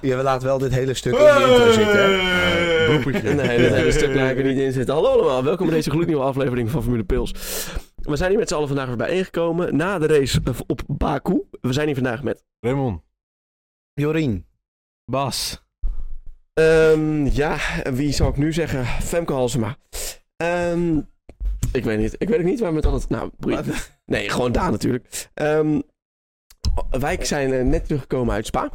Je laat wel dit hele stuk in de intro zitten. hè? Boepetje. Eh. Nee, dat hele stuk laat ik er niet in zitten. Hallo allemaal, welkom bij deze gloednieuwe aflevering van Formule Pils. We zijn hier met z'n allen vandaag weer bijeengekomen na de race eh, op Baku. We zijn hier vandaag met... Raymond. Jorien. Bas. ehm, ja, wie zou ik nu zeggen? Femke Halsema. Ehm, ik weet niet. Ik weet ook niet waar we met al het... Nou, boeit. Nee, gewoon Daan natuurlijk. Ehm, wij zijn eh, net teruggekomen uit Spa.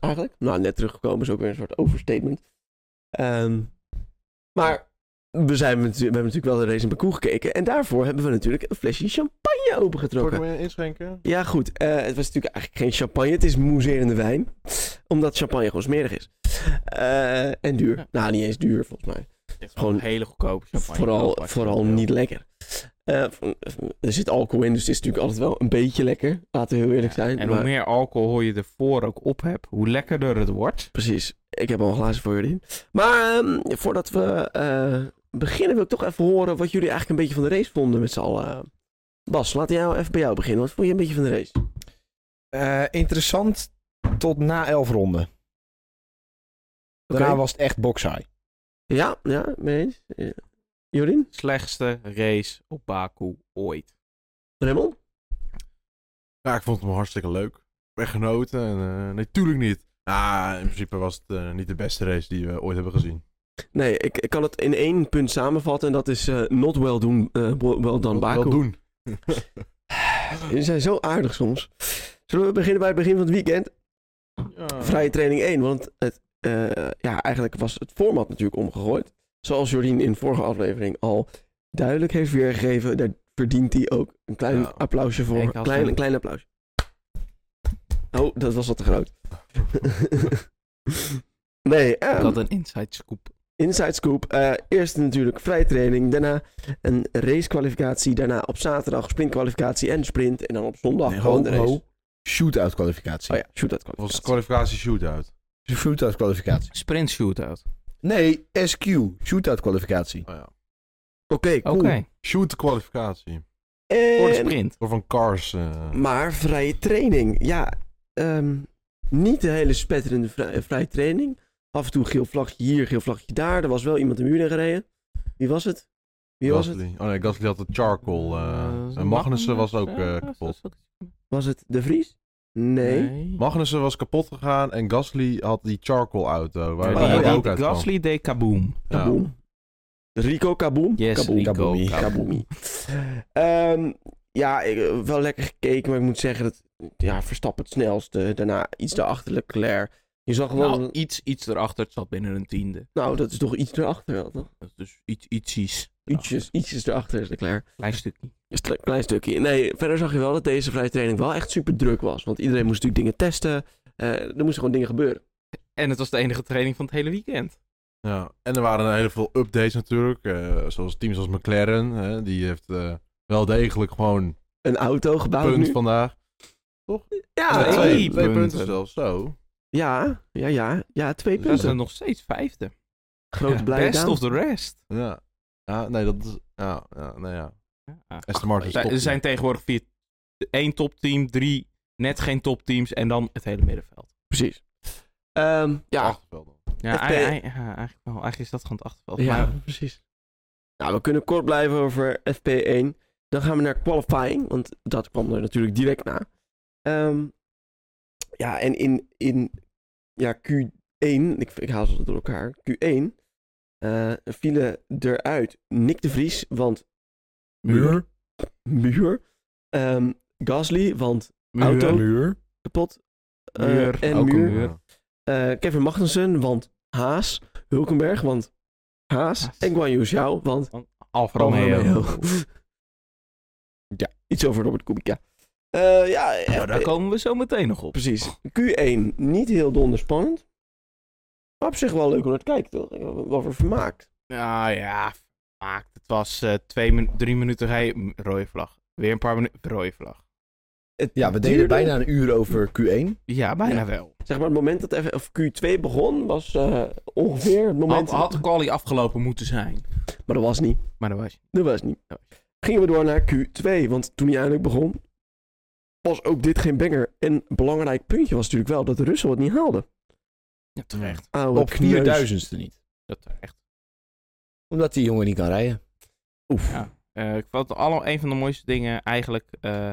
Eigenlijk. Nou, net teruggekomen is ook weer een soort overstatement. Ehm, maar we, zijn, met- we hebben natuurlijk wel de race in Baku gekeken. En daarvoor hebben we natuurlijk een flesje champagne Zal ik opengetrokken. hem inschenken? Ja, goed. eh, het was natuurlijk eigenlijk geen champagne. Het is mousserende wijn. Omdat champagne gewoon smerig is. Eh, en duur. Ja. Nou, niet eens duur volgens mij. Gewoon Gewoon hele goedkope champagne. Vooral, Koopbaar. vooral niet lekker. Eh, er zit alcohol in, dus het is natuurlijk altijd wel een beetje lekker. Laten we heel eerlijk zijn. En maar- hoe meer alcohol je ervoor ook op hebt, hoe lekkerder het wordt. Precies. Ik heb al een glazen voor jullie. Maar ehm, voordat we eh, beginnen wil ik toch even horen wat jullie eigenlijk een beetje van de race vonden met z'n allen. Bas, laat jou even bij jou beginnen. Wat vond je een beetje van de race? Eh, interessant tot na elf ronden. Daarna Oké. was het echt boksaai. Ja, ja, mee eens. Ja. Jorien? Slechtste race op Baku ooit. Raymond? Ja, ik vond hem hartstikke leuk. Ik ben genoten. En, eh, nee, tuurlijk niet. Ah, in principe was het eh, niet de beste race die we ooit hebben gezien. Nee, ik, ik kan het in één punt samenvatten. En dat is eh, not well, doen, eh, bo- well done Wat- wat Baku. doen. Jullie zijn zo aardig soms. Zullen we beginnen bij het begin van het weekend? Ja. vrije training 1. Want het, eh, ja, eigenlijk was het format natuurlijk omgegooid. Zoals Jordien in de vorige aflevering al duidelijk heeft weergegeven. Daar verdient hij ook een klein Ja. applausje voor. Ik had klein, hem. een klein applaus. Oh, dat was wat te groot. nee, Ik ehm, had een inside scoop. Inside Scoop. Eh, eerst natuurlijk vrije training, daarna een racekwalificatie, daarna op zaterdag sprintkwalificatie en sprint en dan op zondag Nee, gewoon ho, de race. ho. Shootout kwalificatie. Oh ja, shootout Het was kwalificatie. kwalificatie shootout. Shootout kwalificatie. Sprint shootout. Nee, SQ. Shootout kwalificatie. Oh, ja. Oké, Oké. cool. Shoot kwalificatie. En- Voor de sprint. Door van Cars. eh, Maar vrije training, ja, ehm, niet de hele spetterende vri- eh, vrije training. Af en toe geel vlagje hier, geel vlagje daar. Er was wel iemand de muur in gereden. Wie was het? Wie was het? Gasly. Oh nee, Gasly had het charcoal. eh en Magnussen was ook eh, kapot. Was het De Vries? Nee. Magnussen was kapot gegaan en Gasly had die charcoal auto. Waar Oh, hij ja. ook uit kwam. Gasly deed kaboom. Ja. Kaboom. Rico Kaboom? Yes, Kaboom. Rico. kaboomi. kaboom. Kaboomi. Ehm, ja, ik, eh, wel lekker gekeken, maar ik moet zeggen dat ja, Verstappen het snelste. Daarna iets daarachter Leclerc. Je zag wel, Nou, nou, iets, iets erachter. Het zat binnen een tiende. dat is toch iets erachter wel, toch? Dat is dus iets, ietsjes. Ietsjes, ietsjes erachter is Leclerc. Klein stukje. Een stuk- klein stukje. Nee, verder zag je wel dat deze vrije training wel echt super druk was. Want iedereen moest natuurlijk dingen testen. Eh, er moesten gewoon dingen gebeuren. En het was de enige training van het hele weekend. Ja, en er waren een hele veel updates natuurlijk. eh, zoals teams als McLaren, hè, die heeft eh, wel degelijk gewoon Een auto gebouwd punt Ah, nu. vandaag. Ja, Ah, Nee, ja, twee, twee twee punten punten. zelfs, zo. ja, ja, ja, ja, twee Ze punten. zijn nog steeds vijfde. Grote blij Best Daan. of the rest. Ja. ja, nee, dat is... Ja, ja, nee, ja. Ja. Aston Martin is Zij- topteam. Er zijn tegenwoordig vier, één topteam, drie net geen topteams en dan het hele middenveld. Precies. Ehm, ja, Achterveld dan. Ja, FP. ei- ei- ja, eigenlijk, wel. eigenlijk is dat gewoon het achterveld. ja, Maar precies. Nou, we kunnen kort blijven over FP1. Dan gaan we naar qualifying, want dat kwam er natuurlijk direct na. Ehm, ja, en in, in ja, Q1, ik, ik haal ze door elkaar, Q1 eh, vielen eruit Nick de Vries, want Muur. muur. Ehm, Gasly, want Auto. Muur. kapot. Eh, Muur, en Ook een muur. muur. Eh, Kevin Magnussen, want Haas. Hulkenberg, want Haas. Haas. En Guan Yu Zhao, want Alfa Alfa Romeo. Romeo. Ja. Iets over Robert Kubica. Eh, ja, eh, Nou, daar eh, komen we zo meteen nog op. precies. Q1, niet heel donderspannend. Maar op zich wel leuk om naar te kijken, toch? Ik heb er Wel voor vermaakt. Nou ja, maakt. Het was eh, twee, min- drie minuten rijden. Rode vlag. Weer een paar minuten. Rode vlag. Het Ja, we deden duurde- bijna een uur over Q1. Ja, bijna wel. Zeg maar, het moment dat F- of Q2 begon, was eh, ongeveer het moment... Had, had de quali afgelopen moeten zijn. Maar dat was niet. Maar dat was niet. Dat was niet. Gingen we door naar Q2, want toen hij eindelijk begon, was ook dit geen banger. En een belangrijk puntje was natuurlijk wel dat Russell het niet haalde. Ja, terecht. Oude Op kneus. 4000ste niet. Dat terecht. Omdat die jongen niet kan rijden. Oef. Ja. Eh, ik vond het allemaal een van de mooiste dingen eigenlijk. eh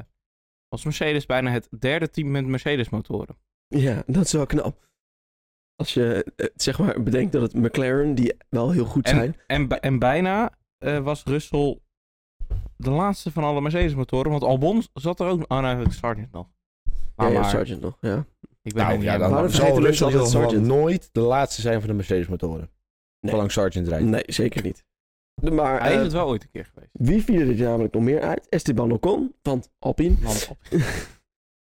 als Mercedes bijna het derde team met Mercedes motoren. Ja, dat is wel knap. Als je eh, zeg maar bedenkt dat het McLaren, die wel heel goed zijn. En, en, bij- en bijna eh, was Russell de laatste van alle Mercedes motoren. Want Albon zat er ook. Oh, nou, ik Sargent nog. ja, Maar, ja, maar, Sargent nog, ja. ik ben Nou helemaal ja, niet- dan Waarom zal vergeten mensen Russell altijd heel gewoon Sargent? nooit de laatste zijn van de Mercedes-motoren. Nee. Zolang Sargent rijdt. Nee, zeker niet. De- Maar Hij is eh, het wel ooit een keer geweest. wie viel er dit namelijk nog meer uit? Esteban Ocon, want Alpine. Want op-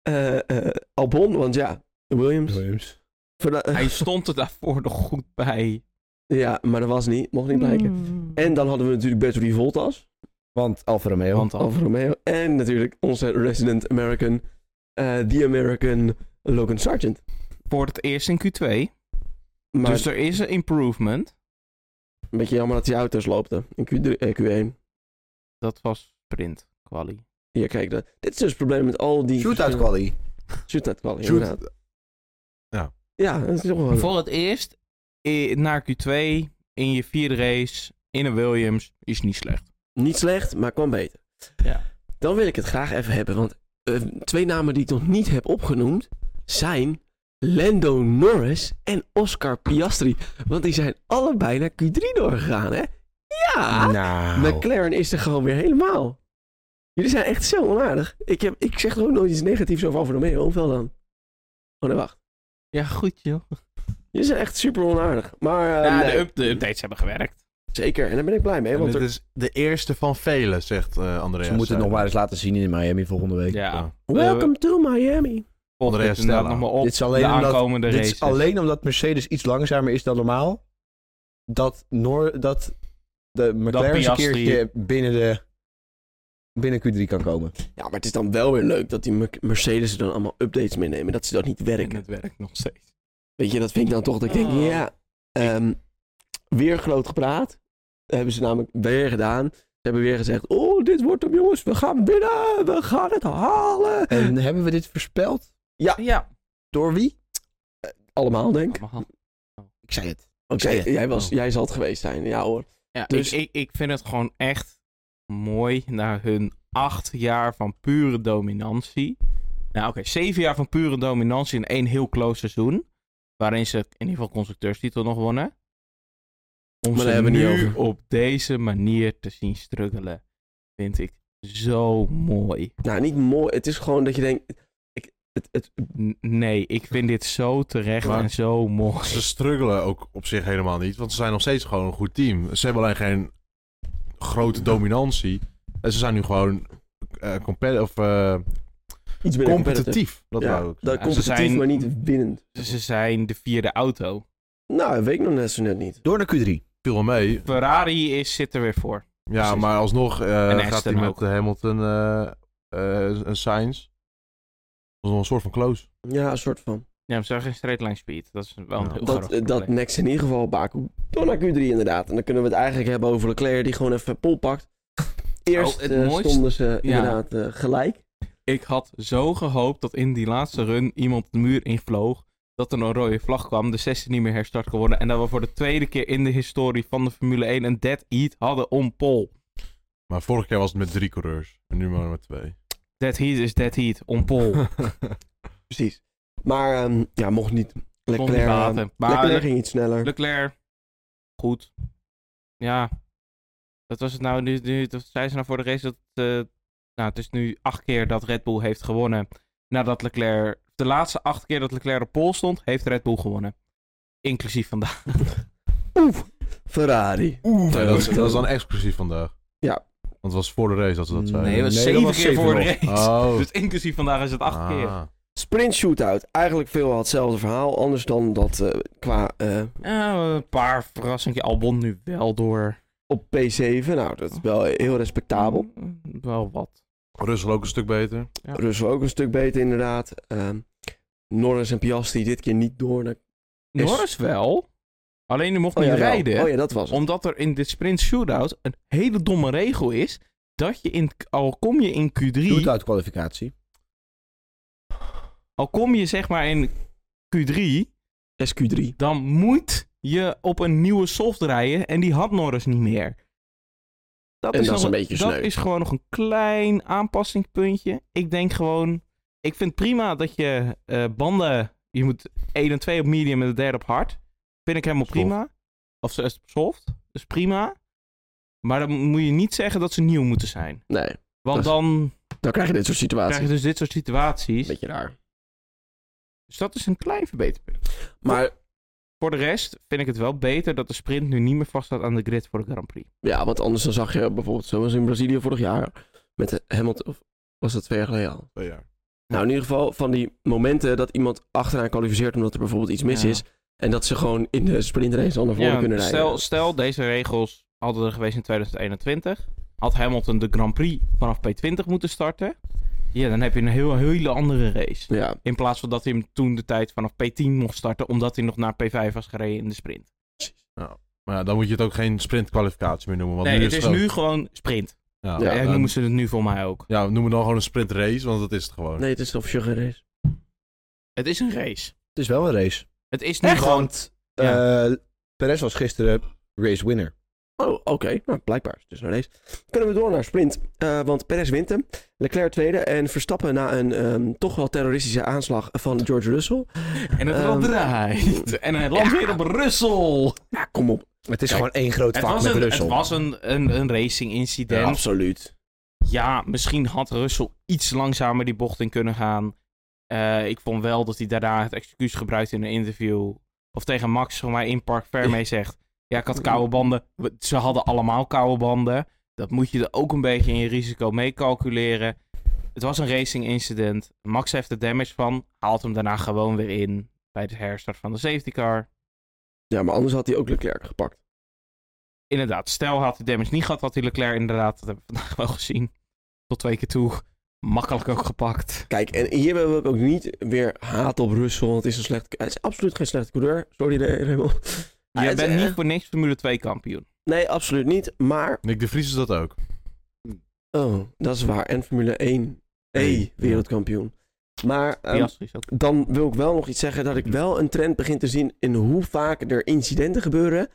Eh, eh, Albon, want ja, Williams. Williams. Verda- Hij stond er daarvoor nog goed bij. ja, maar dat was niet, mocht niet blijken. Mm. En dan hadden we natuurlijk Bertoli Voltas, Want Alfa Romeo. Want dan. Alfa Romeo. En natuurlijk onze resident American, eh The American Logan Sargent. Voor het eerst in Q2. Maar Dus er is een improvement. een beetje jammer dat die auto's loopten in Q3, eh, Q1. Dat was sprint quali. Ja, kijk, dat, dit is dus het probleem met al die... Shootout quali. Shootout quali, Shoot. inderdaad. Ja, dat is toch wel... Voor het eerst i- naar Q2 in je vierde race in een Williams is niet slecht. Niet slecht, maar kwam beter. Ja. Dan wil ik het graag even hebben, want eh, twee namen die ik nog niet heb opgenoemd zijn Lando Norris en Oscar Piastri. Want die zijn allebei naar Q3 doorgegaan, hè? Ja! Nou. McLaren is er gewoon weer helemaal. Jullie zijn echt zo onaardig. Ik, heb, ik zeg er ook nooit iets negatiefs over Alfa Romeo, hoeveel dan? Oh nee, wacht. Ja, goed joh. Jullie zijn echt super onaardig. Maar eh, ja, nee, de, up- de updates hebben gewerkt. zeker, en daar ben ik blij mee. En Want dit er, is de eerste van velen, zegt eh Andreas. Ze moeten het nog maar eens laten zien in Miami volgende week. Ja. welcome to Miami. Volg Andrea het inderdaad Stella. nog maar op. Dit is alleen de omdat- aankomende Dit race. is alleen omdat Mercedes iets langzamer is dan normaal. Dat, Noor, dat de McLaren eens een Piastri- keertje binnen, de, binnen Q3 kan komen. Ja, maar het is dan wel weer leuk dat die Mer- Mercedes er dan allemaal updates meenemen. Dat ze dat niet werken. het werkt nog steeds. Weet je, dat vind ik dan toch dat ik denk, Oh. ja. ehm, weer groot gepraat. Dat hebben ze namelijk weer gedaan. Ze hebben weer gezegd, oh, dit wordt hem jongens. We gaan winnen. We gaan het halen. En hebben we dit voorspeld? Ja. Door wie? Allemaal, denk ik. allemaal. Ik zei het. Oké, jij, was, jij zal het geweest zijn. Ja hoor. Ja, Dus- ik, ik, ik vind het gewoon echt mooi na hun acht jaar van pure dominantie. Nou oké, zeven jaar van pure dominantie in één heel close seizoen. Waarin ze in ieder geval constructeurstitel nog wonnen. Om Maar ze daar hebben we nu het niet over. op deze manier te zien struggelen, vind ik zo mooi. Nou, niet mooi. Het is gewoon dat je denkt, ik, het, het, N- nee, ik vind dit zo terecht Maar- en zo mooi. Ze struggelen ook op zich helemaal niet, want ze zijn nog steeds gewoon een goed team. Ze hebben alleen geen grote dominantie. En ze zijn nu gewoon eh, compe- of, eh, iets minder competitief. Dat Ja, wou ik. dat zeggen. ze competitief, zijn- maar niet winnend. Ze zijn de vierde auto. Nou, dat weet ik nog net zo net niet. Door naar Q3. Viel wel mee. Ferrari is, zit er weer voor. Ja, Precies. maar alsnog eh, En gaat Aston hij met ook. Hamilton eh eh een Sainz. Dat is nog een soort van close. Ja, een soort van. Ja, maar ze hebben geen straight line speed. Dat is wel een Ja. heel groot dat, eh, dat probleem. Next in ieder geval Baku. Door naar Q3 inderdaad. En dan kunnen we het eigenlijk hebben over Leclerc die gewoon even pol pakt. Eerst Oh, het eh, mooiste- stonden ze ja. inderdaad eh, gelijk. Ik had zo gehoopt dat in die laatste run iemand de muur invloog. Dat er een rode vlag kwam, de 16 niet meer herstart kon worden. En dat we voor de tweede keer in de historie van de Formule 1 een dead heat hadden om pol. Maar vorige keer was het met drie coureurs. En nu maar met twee. Dead heat is dead heat, om pol. Precies. Maar ehm, ja, mocht niet. Leclerc, niet baten. ehm, Maar Leclerc Le- ging iets sneller. Leclerc, goed. Ja, dat was het nou. Nu, nu dat zei ze nou voor de race dat... eh, nou, het is nu acht keer dat Red Bull heeft gewonnen. Nadat Leclerc... De laatste acht keer dat Leclerc op pol stond, heeft Red Bull gewonnen. Inclusief vandaag. Oef, Ferrari. Oeh, dat, is- Oh, dat- dat is dan exclusief vandaag. Ja. Want het was voor de race dat ze dat zeiden. Nee, dat was dat zeven was keer zeven voor de nog. Ah. race. Oh. Dus inclusief vandaag is het acht keer. Ah. Sprint shootout. Eigenlijk veelal hetzelfde verhaal. Anders dan dat eh, qua eh, Ja, Nou, een paar verrassingen. Albon nu wel door. op P7. Nou, dat is wel heel respectabel. Mm, Wel wat. Russell ook een stuk beter. Ja. Russell ook een stuk beter inderdaad. Ehm, Norris en Piastri dit keer niet door naar... Is- Norris wel. Alleen die mocht Oh niet ja, wel. rijden. Oh ja, dat was het. Omdat er in de sprint shootout een hele domme regel is. Dat je in, al kom je in Q3, Shootout kwalificatie. al kom je zeg maar in Q3, 6 Q3. dan moet je op een nieuwe soft rijden en die had Norris niet meer. En dat nog is een beetje Dat sneu. is gewoon nog een klein aanpassingpuntje. Ik denk gewoon, ik vind prima dat je eh, banden, je moet 1 en 2 op medium en de derde op hard. Vind ik helemaal Soft. prima. Of ze is soft, is prima. Maar dan moet je niet zeggen dat ze nieuw moeten zijn. Nee, Want Dat is- dan dan krijg je dit soort situaties. krijg je dus dit soort situaties. Beetje raar. Dus dat is een klein verbeterpunt. Maar Voor de rest vind ik het wel beter dat de sprint nu niet meer vaststaat aan de grid voor de Grand Prix. Ja, want anders dan zag je bijvoorbeeld, zoals in Brazilië vorig jaar, met de Hamilton, of was dat twee jaar geleden al? Twee jaar. Nou, in ieder geval van die momenten dat iemand achteraan kwalificeert omdat er bijvoorbeeld iets mis Ja. is. En dat ze gewoon in de sprintrace al naar voren kunnen rijden. dus stel, stel, deze regels hadden er geweest in 2021. Had Hamilton de Grand Prix vanaf P20 moeten starten. Ja, dan heb je een heel, hele andere race. Ja, In plaats van dat hij hem toen de tijd vanaf P10 mocht starten, omdat hij nog naar P5 was gereden in de sprint. Maar ja, dan moet je het ook geen sprintkwalificatie meer noemen. Want nee, nu het is het nu gewoon sprint. gewoon- Ja, Ja, en- noemen ze het nu voor mij ook. Ja, noem het dan gewoon een sprintrace, want dat is het gewoon. nee, het is officieel geen race. Het is een race. Het is wel een race. Het is nu gewoon... Want eh, Perez was gisteren race winner. Oh, oké. Nou, blijkbaar is het dus een race. Kunnen we door naar sprint. eh, want Perez wint hem. Leclerc tweede. En Verstappen na een ehm, toch wel terroristische aanslag van George Russell. En het Ehm, land draait. En het land weer op Brussel. Ja, kom op. Het is Kijk, gewoon één groot Het vak was, met een, het Russell. was een, een, een racing incident. Absoluut. Ja, misschien had Russell iets langzamer die bocht in kunnen gaan. Eh, ik vond wel dat hij daarna het excuus gebruikte in een interview. Of tegen Max van mij in Park Vermee zegt. Ja, ik had koude banden. We- Ze hadden allemaal koude banden. Dat moet je er ook een beetje in je risico mee calculeren. Het was een racing incident. Max heeft er damage van. Haalt hem daarna gewoon weer in bij de herstart van de safety car. Ja, maar anders had hij ook Leclerc gepakt. Inderdaad, stel had hij damage niet gehad, had hij Leclerc inderdaad, dat hebben we vandaag wel gezien, tot twee keer toe, makkelijk ook gepakt. Kijk, en hier hebben we ook niet weer haat op Russell. Want het is een slecht. Het is absoluut geen slechte coureur. Sorry, Re- Raymond. Maar Je het- bent eh, niet voor niks Formule 2 kampioen. Nee, absoluut niet. Maar. Nick de Vries is dat ook. Oh, dat is waar. En Formule 1. E, Nee, wereldkampioen. Maar ehm, Piastri is ook. dan wil ik wel nog iets zeggen dat ik wel een trend begin te zien in hoe vaak er incidenten gebeuren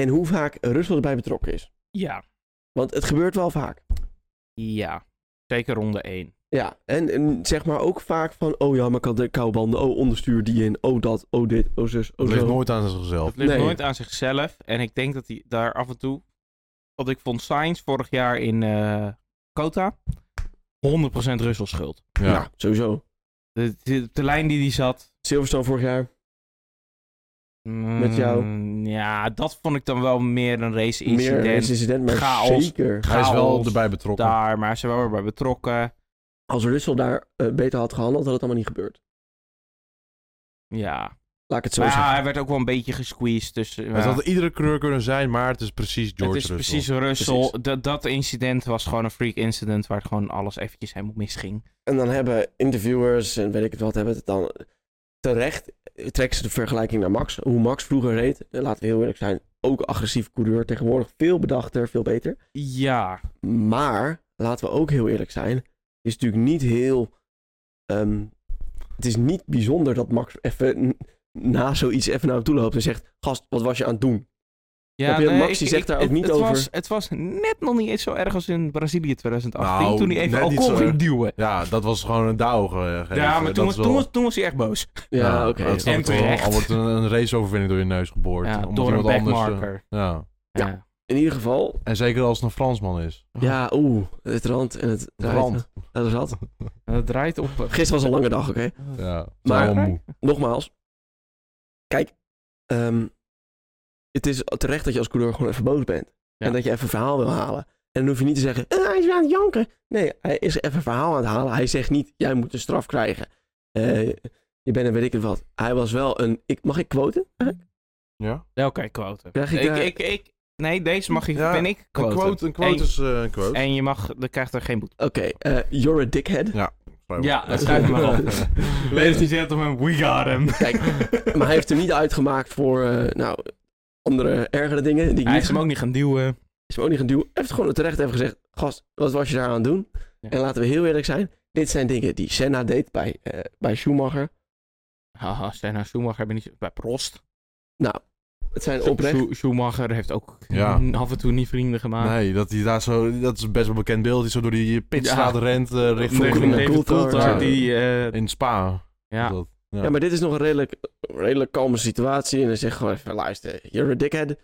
en hoe vaak Russell erbij betrokken is. Ja. Want het gebeurt wel vaak. Ja. Zeker ronde 1. Ja, en, en zeg maar ook vaak van, oh ja, maar ik had de koude banden, oh onderstuur die in, oh dat, oh dit, oh zus, oh Dat ligt zo. nooit aan zichzelf. Het ligt Nee. nooit aan zichzelf. En ik denk dat hij daar af en toe... Wat ik vond Sainz vorig jaar in eh Kota... 100% Russell schuld. Ja. Ja. Nou, sowieso. De, de, de lijn die hij zat... Silverstone vorig jaar. mm, Met jou? Ja, dat vond ik dan wel meer een race Meer incident. een incident, maar Chaos. zeker. Hij is wel Chaos erbij betrokken. daar, maar ze waren erbij betrokken. Als Russell daar eh, beter had gehandeld, had het allemaal niet gebeurd. Ja. Laat ik het zo Maar ja, zeggen. hij werd ook wel een beetje gesqueezed dus, tussen... Het ja. had iedere kleur kunnen zijn, maar het is precies George het is Russell. precies Russell. Precies. Dat, dat incident was gewoon een freak incident waar het gewoon alles eventjes helemaal misging. En dan hebben interviewers en weet ik het wat, hebben het dan terecht eh, trekken ze de vergelijking naar Max. Hoe Max vroeger reed, eh, laten we heel eerlijk zijn, ook agressief coureur. Tegenwoordig veel bedachter, veel beter. Ja, Maar, laten we ook heel eerlijk zijn, het is natuurlijk niet heel... ehm, het is niet bijzonder dat Max even n- na zoiets even naar hem toe loopt en zegt... Gast, wat was je aan het doen? ja Heb je- Max, die zegt daar ook het- niet het over. Was, het was net nog niet eens zo erg als in Brazilië 2018, Nou, toen hij even net niet alcohol zo ging erg. duwen. Ja, dat was gewoon een douw ge- geven. Ja, maar Dat toen was, is wel- toen, was, toen was hij echt boos. Ja, oké. dat snap En ik wel. terecht. Al wordt een, een raceoverwinning door je neus geboord. Ja, omdat door een iemand anders, backmarker. eh, ja. Ja. Ja. In ieder geval, En zeker als het een Fransman is. ja, oeh, het rand en het... Rand. Ja, dat is wat. En dat draait op... eh, Gisteren was een lange dag, oké? Ja, Maar- maar, wel moe. nogmaals. Kijk, ehm, het is terecht dat je als coureur gewoon even boos bent. Ja. En dat je even een verhaal wil halen. En dan hoef je niet te zeggen, "Eh, hij is weer aan het janken. Nee, hij is even een verhaal aan het halen. Hij zegt niet, jij moet een straf krijgen. Eh, je bent een weet ik het wat. Hij was wel een, ik, mag ik quoten? Ja? Ja, Oké, quote. Krijg ik ik, daar- ik, ik, nee, deze mag je, Ja, ben ik Een quote. quote, een quote En- is eh, een quote. En je mag, dan krijgt er geen boete. Oké, eh, you're a dickhead. Ja, dat schrijf schrijf maar maar op. op. Ladies and gentlemen, we got him. Kijk, maar hij heeft hem niet uitgemaakt voor, eh, nou, andere ergere dingen. Die ik Hij niet is hem ook niet gaan duwen. is hem ook niet gaan duwen. Hij heeft gewoon terecht even gezegd, gast, wat was je daar aan het doen? Ja. En laten we heel eerlijk zijn, dit zijn dingen die Senna deed bij, eh, bij Schumacher. Haha, Senna Schumacher hebben niet... Bij Prost. Nou, Het zijn oprecht... Schu- Schumacher heeft ook Ja. af en toe niet vrienden gemaakt. Nee, dat hij daar zo... Dat is best wel bekend beeld. Die zo door die pitstraat Ja. rent eh, richting... Richting Coulthard. David Coulthard, Ja. die... eh, In Spa. ja. was dat. Ja. Ja, maar dit is nog een redelijk, redelijk kalme situatie. En dan zeg je gewoon even, luister, you're a dickhead.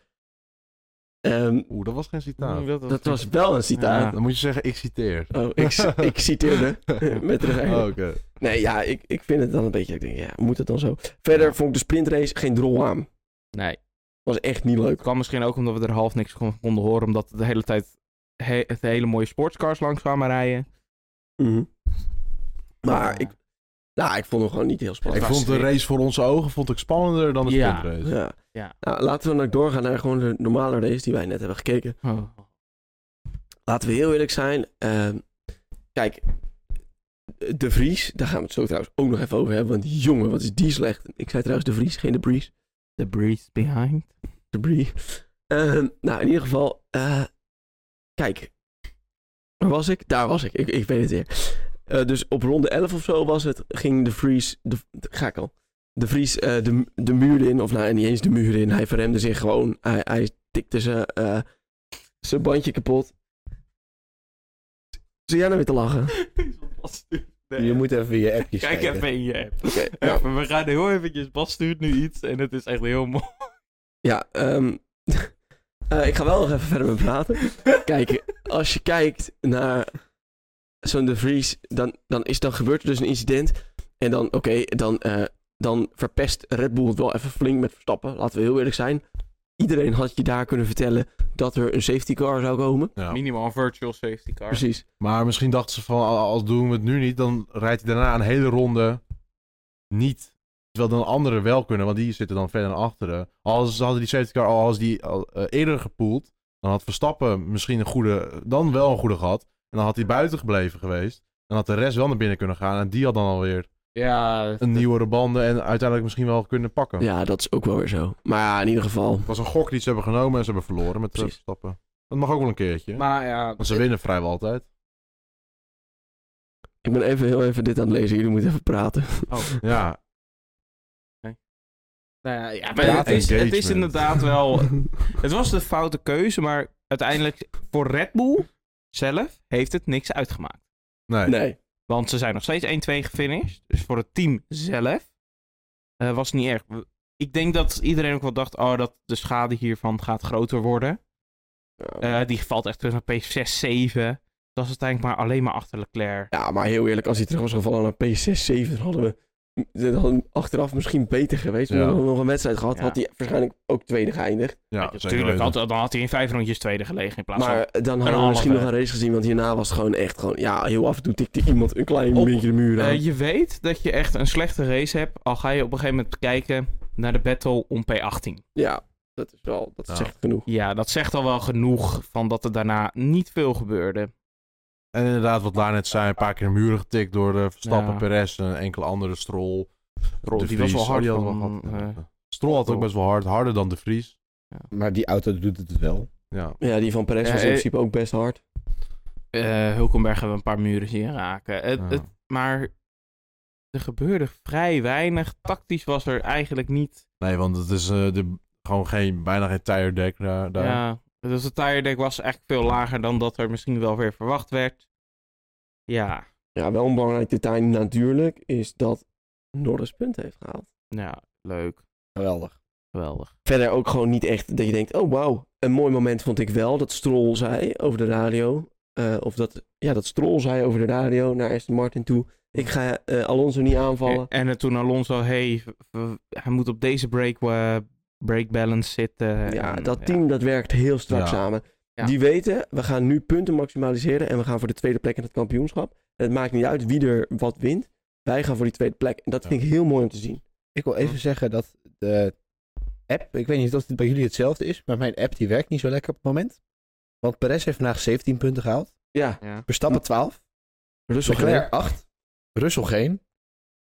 Ehm, Oeh, dat was geen citaat. Hoe wil dat was wel een citaat. Ja. Dan moet je zeggen, ik citeer. Oh, ik, c- ik citeerde. Met de Oh, oké. Nee, ja, ik, ik vind het dan een beetje... Ik denk, ja, moet het dan zo? Verder vond ik de sprintrace geen drol aan. Nee. Was echt niet Het leuk. kwam misschien ook omdat we er half niks van konden horen. Omdat de hele tijd he- het hele mooie sportscars langs kwamen rijden. Mhm. Maar ik, nou, ik vond hem gewoon niet heel Ik spannend. vond de race voor onze ogen vond ik spannender dan de Ja. sprintrace. Ja. Ja. Nou, laten we dan ook doorgaan naar gewoon de normale race die wij net hebben gekeken. Oh. Laten we heel eerlijk zijn. ehm, kijk, De Vries, daar gaan we het zo trouwens ook nog even over hebben. Want jongen, wat is die slecht. Ik zei trouwens De Vries, geen De Vries. The breeze behind. debris. Ehm, nou, in ieder geval, eh, kijk. Waar was ik? Daar was ik. Ik, ik weet het weer. Eh, dus op ronde 11 of zo was het, ging de Vries, de, de- ga ik al, de Vries eh, de, de muur in, of nou, niet eens de muur in. Hij verremde zich gewoon, hij, hij tikte zijn, eh, zijn bandje kapot. Zie jij nou weer te lachen? Je moet even je appjes Kijk kijken. even in je app. Oké, nou, Even, We gaan heel eventjes. Bas stuurt nu iets en het is echt heel mooi. ja, ehm, eh, ik ga wel nog even verder met praten. Kijk, als je kijkt naar zo'n De Vries, dan, dan, is, dan gebeurt er dus een incident. En dan, oké, dan, eh, dan verpest Red Bull het wel even flink met Verstappen. Laten we heel eerlijk zijn. Iedereen had je daar kunnen vertellen dat er een safety car zou komen. Ja. Minimaal een virtual safety car. Precies. Maar misschien dachten ze van, al al doen we het nu niet, dan rijdt hij daarna een hele ronde niet. Terwijl dan anderen wel kunnen, want die zitten dan verder naar achteren. Als ze hadden die safety car al als die al, eh, eerder gepoeld, dan had Verstappen misschien een goede, dan wel een goede gehad. En dan had hij buiten gebleven geweest. Dan had de rest wel naar binnen kunnen gaan en die had dan alweer Ja. een nieuwere banden en uiteindelijk misschien wel kunnen pakken. Ja, dat is ook wel weer zo. Maar ja, in ieder geval. Het was een gok die ze hebben genomen en ze hebben verloren met eh, Precies. Verstappen. Dat mag ook wel een keertje. Maar ja. Want ze winnen vrijwel altijd. Ik ben even heel even dit aan het lezen. Jullie moeten even praten. Oh. Ja, Nou ja, ja, maar Praat het, is, het is engagement. inderdaad wel. Het was de foute keuze, maar uiteindelijk voor Red Bull zelf heeft het niks uitgemaakt. nee. Nee. Want ze zijn nog steeds 1-2 gefinished. Dus voor het team zelf eh, was het niet erg. We- Ik denk dat iedereen ook wel dacht: oh, dat de schade hiervan gaat groter worden. Eh, die valt echt terug naar P6, 7. Dat is uiteindelijk maar alleen maar achter Leclerc. Ja, maar heel eerlijk, als hij terug was gevallen naar P6, 7, dan hadden we dan hadden we achteraf misschien beter geweest. We Ja. hadden we nog een wedstrijd gehad, Ja. had hij waarschijnlijk ook tweede geëindigd. Ja, Weet je, zeker tuurlijk, weten. had, dan had hij in vijf rondjes tweede gelegen in plaats maar dan hadden we halve. misschien nog een race gezien, want hierna was het gewoon echt gewoon... Ja, heel af en toe tikte iemand een klein Op- beetje de muur van... aan. Eh, je weet dat je echt een slechte race hebt, al ga je op een gegeven moment kijken naar de battle om P18. ja, dat is wel, dat Ja. zegt genoeg. Ja, dat zegt al wel genoeg van dat er daarna niet veel gebeurde. En inderdaad, wat daar net zei, een paar keer in muren getikt door eh, Verstappen, Ja. Perez en enkele andere Strol. Rol, De Dus die was wel Vries, hard. die hadden van, wel gehad. eh, Strol had ook best wel hard, harder dan de Vries. Maar die auto doet het wel. Ja. Ja, die van Perez Ja, was in eh, principe ook best hard. eh, Hulkenberg hebben een paar muren zien raken. Het, Ja. het, maar er gebeurde vrij weinig. Tactisch was er eigenlijk niet. Nee, want het is eh, de, gewoon geen, bijna geen tire deck daar. daar. Ja, dus het tire deck was eigenlijk veel lager dan dat er misschien wel weer verwacht werd. Ja, Ja, wel een belangrijk detail natuurlijk is dat Norris punten heeft gehaald. nou, leuk. Geweldig. Geweldig. verder ook gewoon niet echt dat je denkt, oh wauw. Een mooi moment vond ik wel dat Stroll zei over de radio. eh, of dat, ja, dat Stroll zei over de radio naar Aston Martin toe. Ik ga eh, Alonso niet aanvallen. En, en toen Alonso, hey, v- v- hij moet op deze break, eh, break balance zitten. ja, En, dat team dat werkt heel strak Ja. samen. Ja. Die weten, we gaan nu punten maximaliseren en we gaan voor de tweede plek in het kampioenschap. En het maakt niet uit wie er wat wint. Wij gaan voor die tweede plek. En dat Ja. vind ik heel mooi om te zien. Ik wil even zeggen dat de app, ik weet niet of het bij jullie hetzelfde is, maar mijn app die werkt niet zo lekker op het moment. Want Perez heeft vandaag 17 punten gehaald. Ja, Ja. Verstappen 12. Russell Leclerc 8. Russell geen.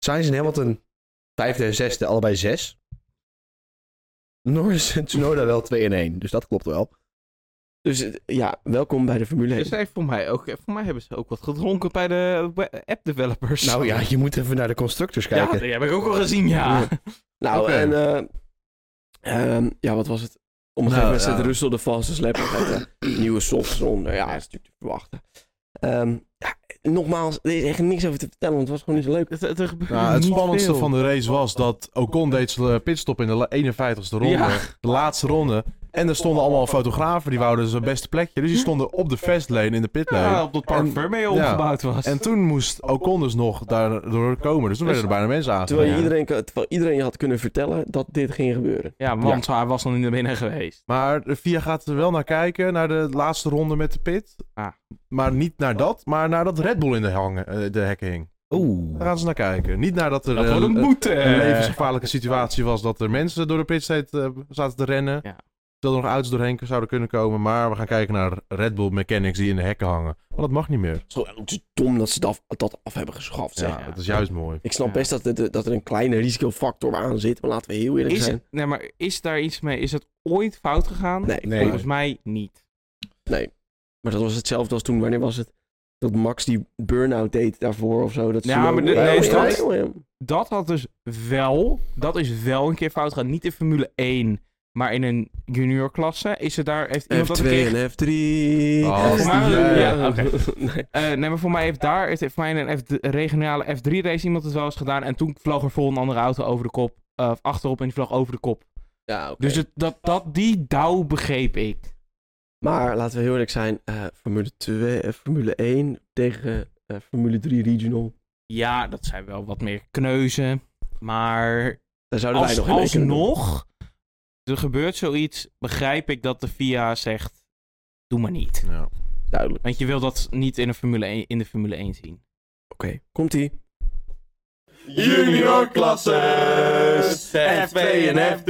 Sainz en Hamilton vijfde en zesde, allebei 6. Norris en Tsunoda wel 2 en 1, dus dat klopt wel. Dus eh, ja, welkom bij de Formule 1. Dus zij voor mij ook. Voor mij hebben ze ook wat gedronken bij de we- app-developers. Nou ja, je moet even naar de constructors ja, kijken. die heb ik ook al gezien, ja. Nou, Oké. en eh, ehm, ja, wat was het? Om een Nou, gegeven moment zet ja. Russell de valse slap met de nieuwe softs onder. Ja, dat is natuurlijk te verwachten. Ehm, ja, nogmaals, er is echt niks over te vertellen, want het was gewoon niet zo leuk. Het, het, er gebeurde Nou, het niet spannendste veel. van de race was dat Ocon deed zijn eh, pitstop in de la- 51ste ronde. Ja. De laatste ronde. En er stonden allemaal fotografen die wouden zijn beste plekje. Dus die stonden op de festlane in de pitlane. Ja, op dat park En- waarmee ja. opgebouwd was. En toen moest Ocon dus nog daardoor komen. Dus toen werden er bijna mensen Terwijl, je aangevallen. iedereen, kan- terwijl iedereen je had kunnen vertellen dat dit ging gebeuren. ja, want hij was al in de binnen geweest. Maar Via gaat er wel naar kijken, naar de laatste ronde met de pit. Ah. Maar niet naar dat, maar naar dat Red Bull in de, hangen, eh, de hekken hing. Daar gaan ze naar kijken. Niet naar dat er Dat eh, wordt een een, boete. een levensgevaarlijke situatie was dat er mensen door de pitstraat eh, zaten te rennen. Ja. Dat er nog auto's doorheen zouden kunnen komen. Maar we gaan kijken naar Red Bull mechanics die in de hekken hangen. Want dat mag niet meer. Het is gewoon ook zo dom dat ze dat, dat af hebben geschaft. Ja, Zeg. ja. dat is juist mooi. Ik snap Ja. best dat, het- dat er een kleine risicofactor aan zit, maar laten we heel eerlijk Is, zijn. nee, maar is daar iets mee? Is het ooit fout gegaan? Nee, Nee. Volgens mij niet. maar dat was hetzelfde als toen, wanneer was het? Dat Max die burn-out deed daarvoor of zo. Dat ze Ja, zo- maar de- Ja, nee, ja, straks- ja, ja. Dat had dus wel, dat is wel een keer fout gegaan. Niet in Formule 1, maar in een juniorklasse is er daar, heeft iemand dat een F2 keer... en F3. Oh, F3. maar- ja, oké. Nee. Eh, nee, maar voor mij heeft daar, het heeft voor mij in een F- regionale F3 race iemand het wel eens gedaan. En toen vloog er vol een andere auto over de kop, eh, of achterop en die vloog over de kop. Ja, oké. Dus het, dat, dat, die dauw begreep ik. Maar laten we heel eerlijk zijn, eh, Formule 2, eh, Formule 1 tegen eh, Formule 3 Regional. Ja, dat zijn wel wat meer kneuzen. Maar Daar zouden Oh, wij als, nog in mee kunnen doen. alsnog, er gebeurt zoiets, begrijp ik dat de FIA zegt, doe maar niet. Ja. Duidelijk. Want je wil dat niet in, een Formule 1, in de Formule 1 zien. Oké, komt-ie. Junior klasses, F2 en F3.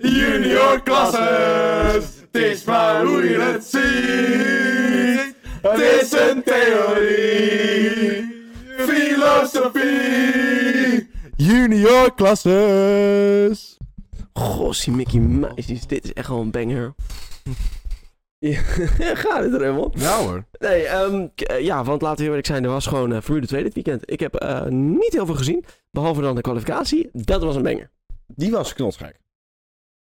Junior klasses, het is maar hoe je het ziet. Het is een theorie, filosofie. Junior classes! Gossie Mickey Meisjes, dit is echt wel een banger. Ja, Gaat het er helemaal? Ja hoor. Nee, ehm, k- eh, ja, want laten we heel eerlijk zijn, er was gewoon eh, Formule 2 dit weekend. Ik heb eh, niet heel veel gezien, behalve dan de kwalificatie. Dat was een banger. Die was knotsgek.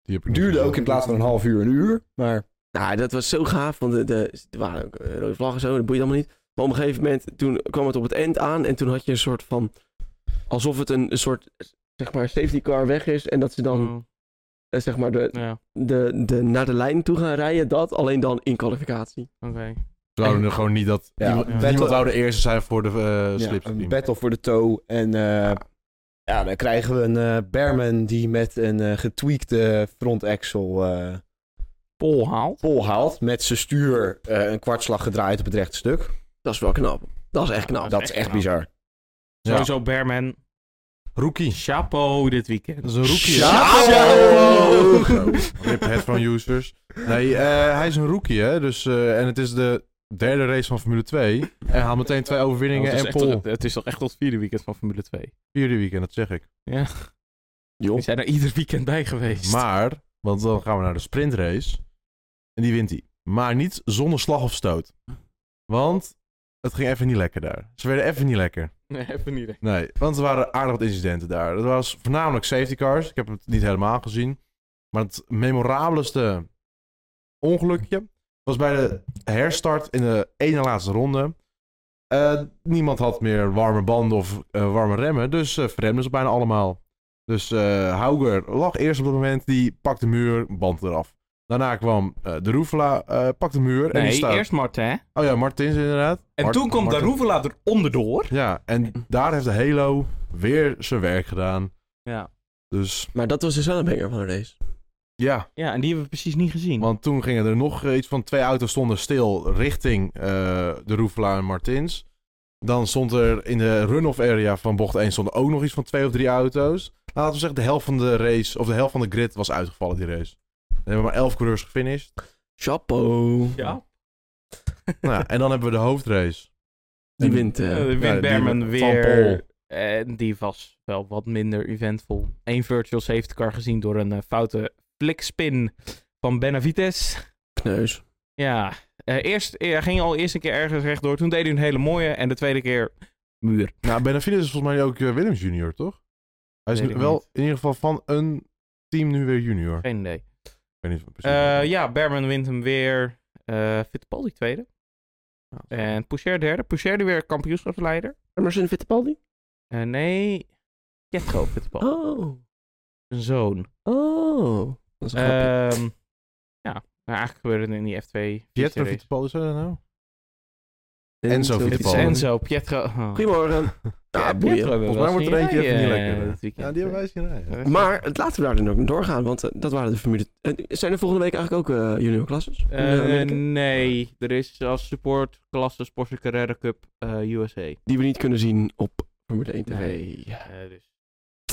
Die heb ik Duurde nog ook in plaats van een half uur een uur. Maar Nou, dat was zo gaaf, want de, de- er waren ook eh, rode vlaggen en zo, dat boeit allemaal niet. Maar op een gegeven moment, toen kwam het op het eind aan en toen had je een soort van... Alsof het een, een soort, zeg maar, safety car weg is en dat ze Mm. dan, eh, zeg maar, de, Oh, ja, de, de, naar de lijn toe gaan rijden. Dat alleen dan in kwalificatie. oké. We wouden er gewoon niet dat... Ja. niemand, Ja. niemand Battle- wou de eerste zijn voor de eh ja, slipstream. een battle voor de toe. En eh, ja, dan krijgen we een eh Bearman die met een eh, getweakte front axle eh, Pol haalt. pol haalt. Met zijn stuur eh, een kwartslag gedraaid op het rechte stuk. Dat is wel knap. Dat is echt knap. Dat is echt bizar. Ja. Sowieso Bearman. Rookie. Chapeau dit weekend. Dat is een rookie. hè? Chapeau! Rip headphone users. Nee, eh, hij is een rookie, hè. Dus, eh, en het is de derde race van Formule 2. En hij haalt meteen twee overwinningen het, is en echt pol. tot- het is toch echt tot het vierde weekend van Formule 2. Vierde weekend, dat zeg ik. Ja. Joh. Die zijn er ieder weekend bij geweest. Maar, want dan gaan we naar de sprintrace. En die wint hij. Maar niet zonder slag of stoot. Want het ging even niet lekker daar. Ze werden even niet lekker. Nee, even niet. hè. Nee, want er waren aardig wat incidenten daar. Dat was voornamelijk safety cars. Ik heb het niet helemaal gezien. Maar het memorabelste ongelukje was bij de herstart in de ene laatste ronde. Eh, niemand had meer warme banden of eh, warme remmen, dus eh verremden ze bijna allemaal. Dus eh Hauger lag eerst op dat moment, die pakte de muur, band eraf. Daarna kwam eh, de Roefla, eh pakte de muur en die Nee, staat... eerst Martin. hè? Oh ja, Martins inderdaad. En Mart- toen komt Martins. Daruva later onderdoor. Ja, en daar heeft de Halo weer zijn werk gedaan. Ja. Dus Maar dat was dus wel een banger van de race. ja, ja, en die hebben we precies niet gezien. want toen gingen er nog eh, iets van twee auto's stonden stil richting eh, de Roefelaar en Martins. Dan stond er in de run-off area van bocht 1 stonden ook nog iets van twee of drie auto's. Nou, laten we zeggen, de helft van de race, of de helft van de grid was uitgevallen die race. We hebben maar elf coureurs gefinished. Chapeau. ja. nou, en dan hebben we de hoofdrace. Die En- wint. eh, Eh, wint ja, die Berman van weer. Paul. En die was wel wat minder eventvol. Eén virtual safety car gezien door een eh, foute flikspin van Benavides. neus. Ja, eh, eerst eh, ging al eerst een keer ergens rechtdoor. Toen deed hij een hele mooie. En de tweede keer muur. Nou, Benavides is volgens mij ook eh, Willems junior, toch? Hij is Weet nu ik wel niet. Eh, in ieder geval van een team nu weer junior. Geen idee. Ik weet niet precies. Eh, ja, Berman wint hem weer. Eh Fittipaldi tweede. Ah, En Poucher derde. Poucher die weer kampioenschapsleider. Emerson Fittipaldi? Eh, nee, Jetro Fittipaldi. Oh. Zijn zoon. Oh. Dat is een grapje. Ehm, ja, maar eigenlijk gebeurde het in die F2. Pietro race. Fittipaldi, is dat nou? Enzo Enzo Het is Fittipaldi. Enzo, Pietro. Oh. Goedemorgen. Ja, Ja, Pietro boeien. hebben we Volgens mij wel wordt er zien eentje even rijden, eh, niet lekker. dit weekend. Ja, die hebben wij zien rijden. Maar het laten we daar dan ook nog doorgaan, want eh, dat waren de Formule... eh, zijn er volgende week eigenlijk ook eh, junior klasses? In, eh, Eh, Amerika? nee, er is als support klasse Porsche Carrera Cup eh, USA. Die we niet kunnen zien op Formule 1 TV. Eh, dus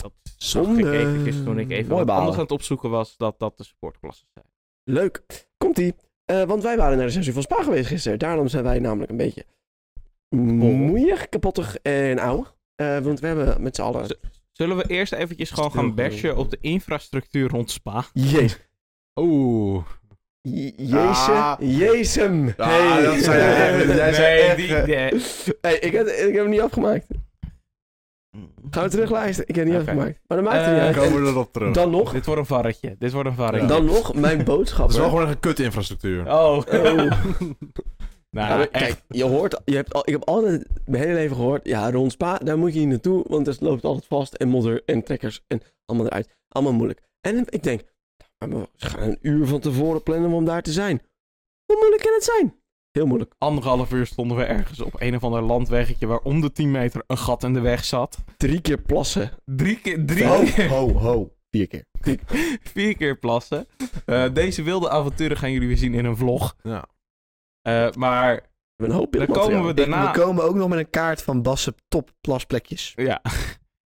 dat zag ik Zonde. eventjes toen ik even Mooi wat balen. anders aan het opzoeken was, dat dat de supportklassen zijn. Leuk. Komt-ie. Eh, want wij waren naar de sessie van Spa geweest gisteren. Daarom zijn wij namelijk een beetje moeier, kapottig en ouw. Eh, want we hebben met z'n allen... Z- Zullen we eerst eventjes gewoon gaan bashen op de infrastructuur rond Spa? Jezus. Oeh. Jezus. Ah. Jezem. Ah, dat zijn- jij zei Nee, echt, die- eh, die- Hey, ik, heb, ik heb hem niet afgemaakt. Gaan we terugluisteren? Ik heb hem niet Oké. afgemaakt. Maar dat maakt het Eh, niet uit. Komen we erop terug. Dan nog, Dit wordt een varretje. Dit wordt een varretje. dan nog mijn Het is boodschapper. wel gewoon een kut infrastructuur. Oh. Oh. nou, Ja, maar echt. kijk, je hoort, je hebt al, ik heb altijd mijn hele leven gehoord, ja, rond Spa, daar moet je niet naartoe, want het loopt altijd vast en modder en trekkers en allemaal eruit. Allemaal moeilijk. En ik denk, maar we gaan een uur van tevoren plannen om daar te zijn. Hoe moeilijk kan het zijn? Heel moeilijk. Anderhalf uur stonden we ergens op een of ander landweggetje waar om de 10 meter een gat in de weg zat. Drie keer plassen. Drie keer, drie Ho, keer- Oh. ho, ho. Vier keer. vier keer plassen. Eh, deze wilde avonturen gaan jullie weer zien in een vlog. Ja. Eh, maar We hebben een hoop dan komen beeldmateriaal. we daarna... We komen ook nog met een kaart van Basse top plasplekjes. Ja.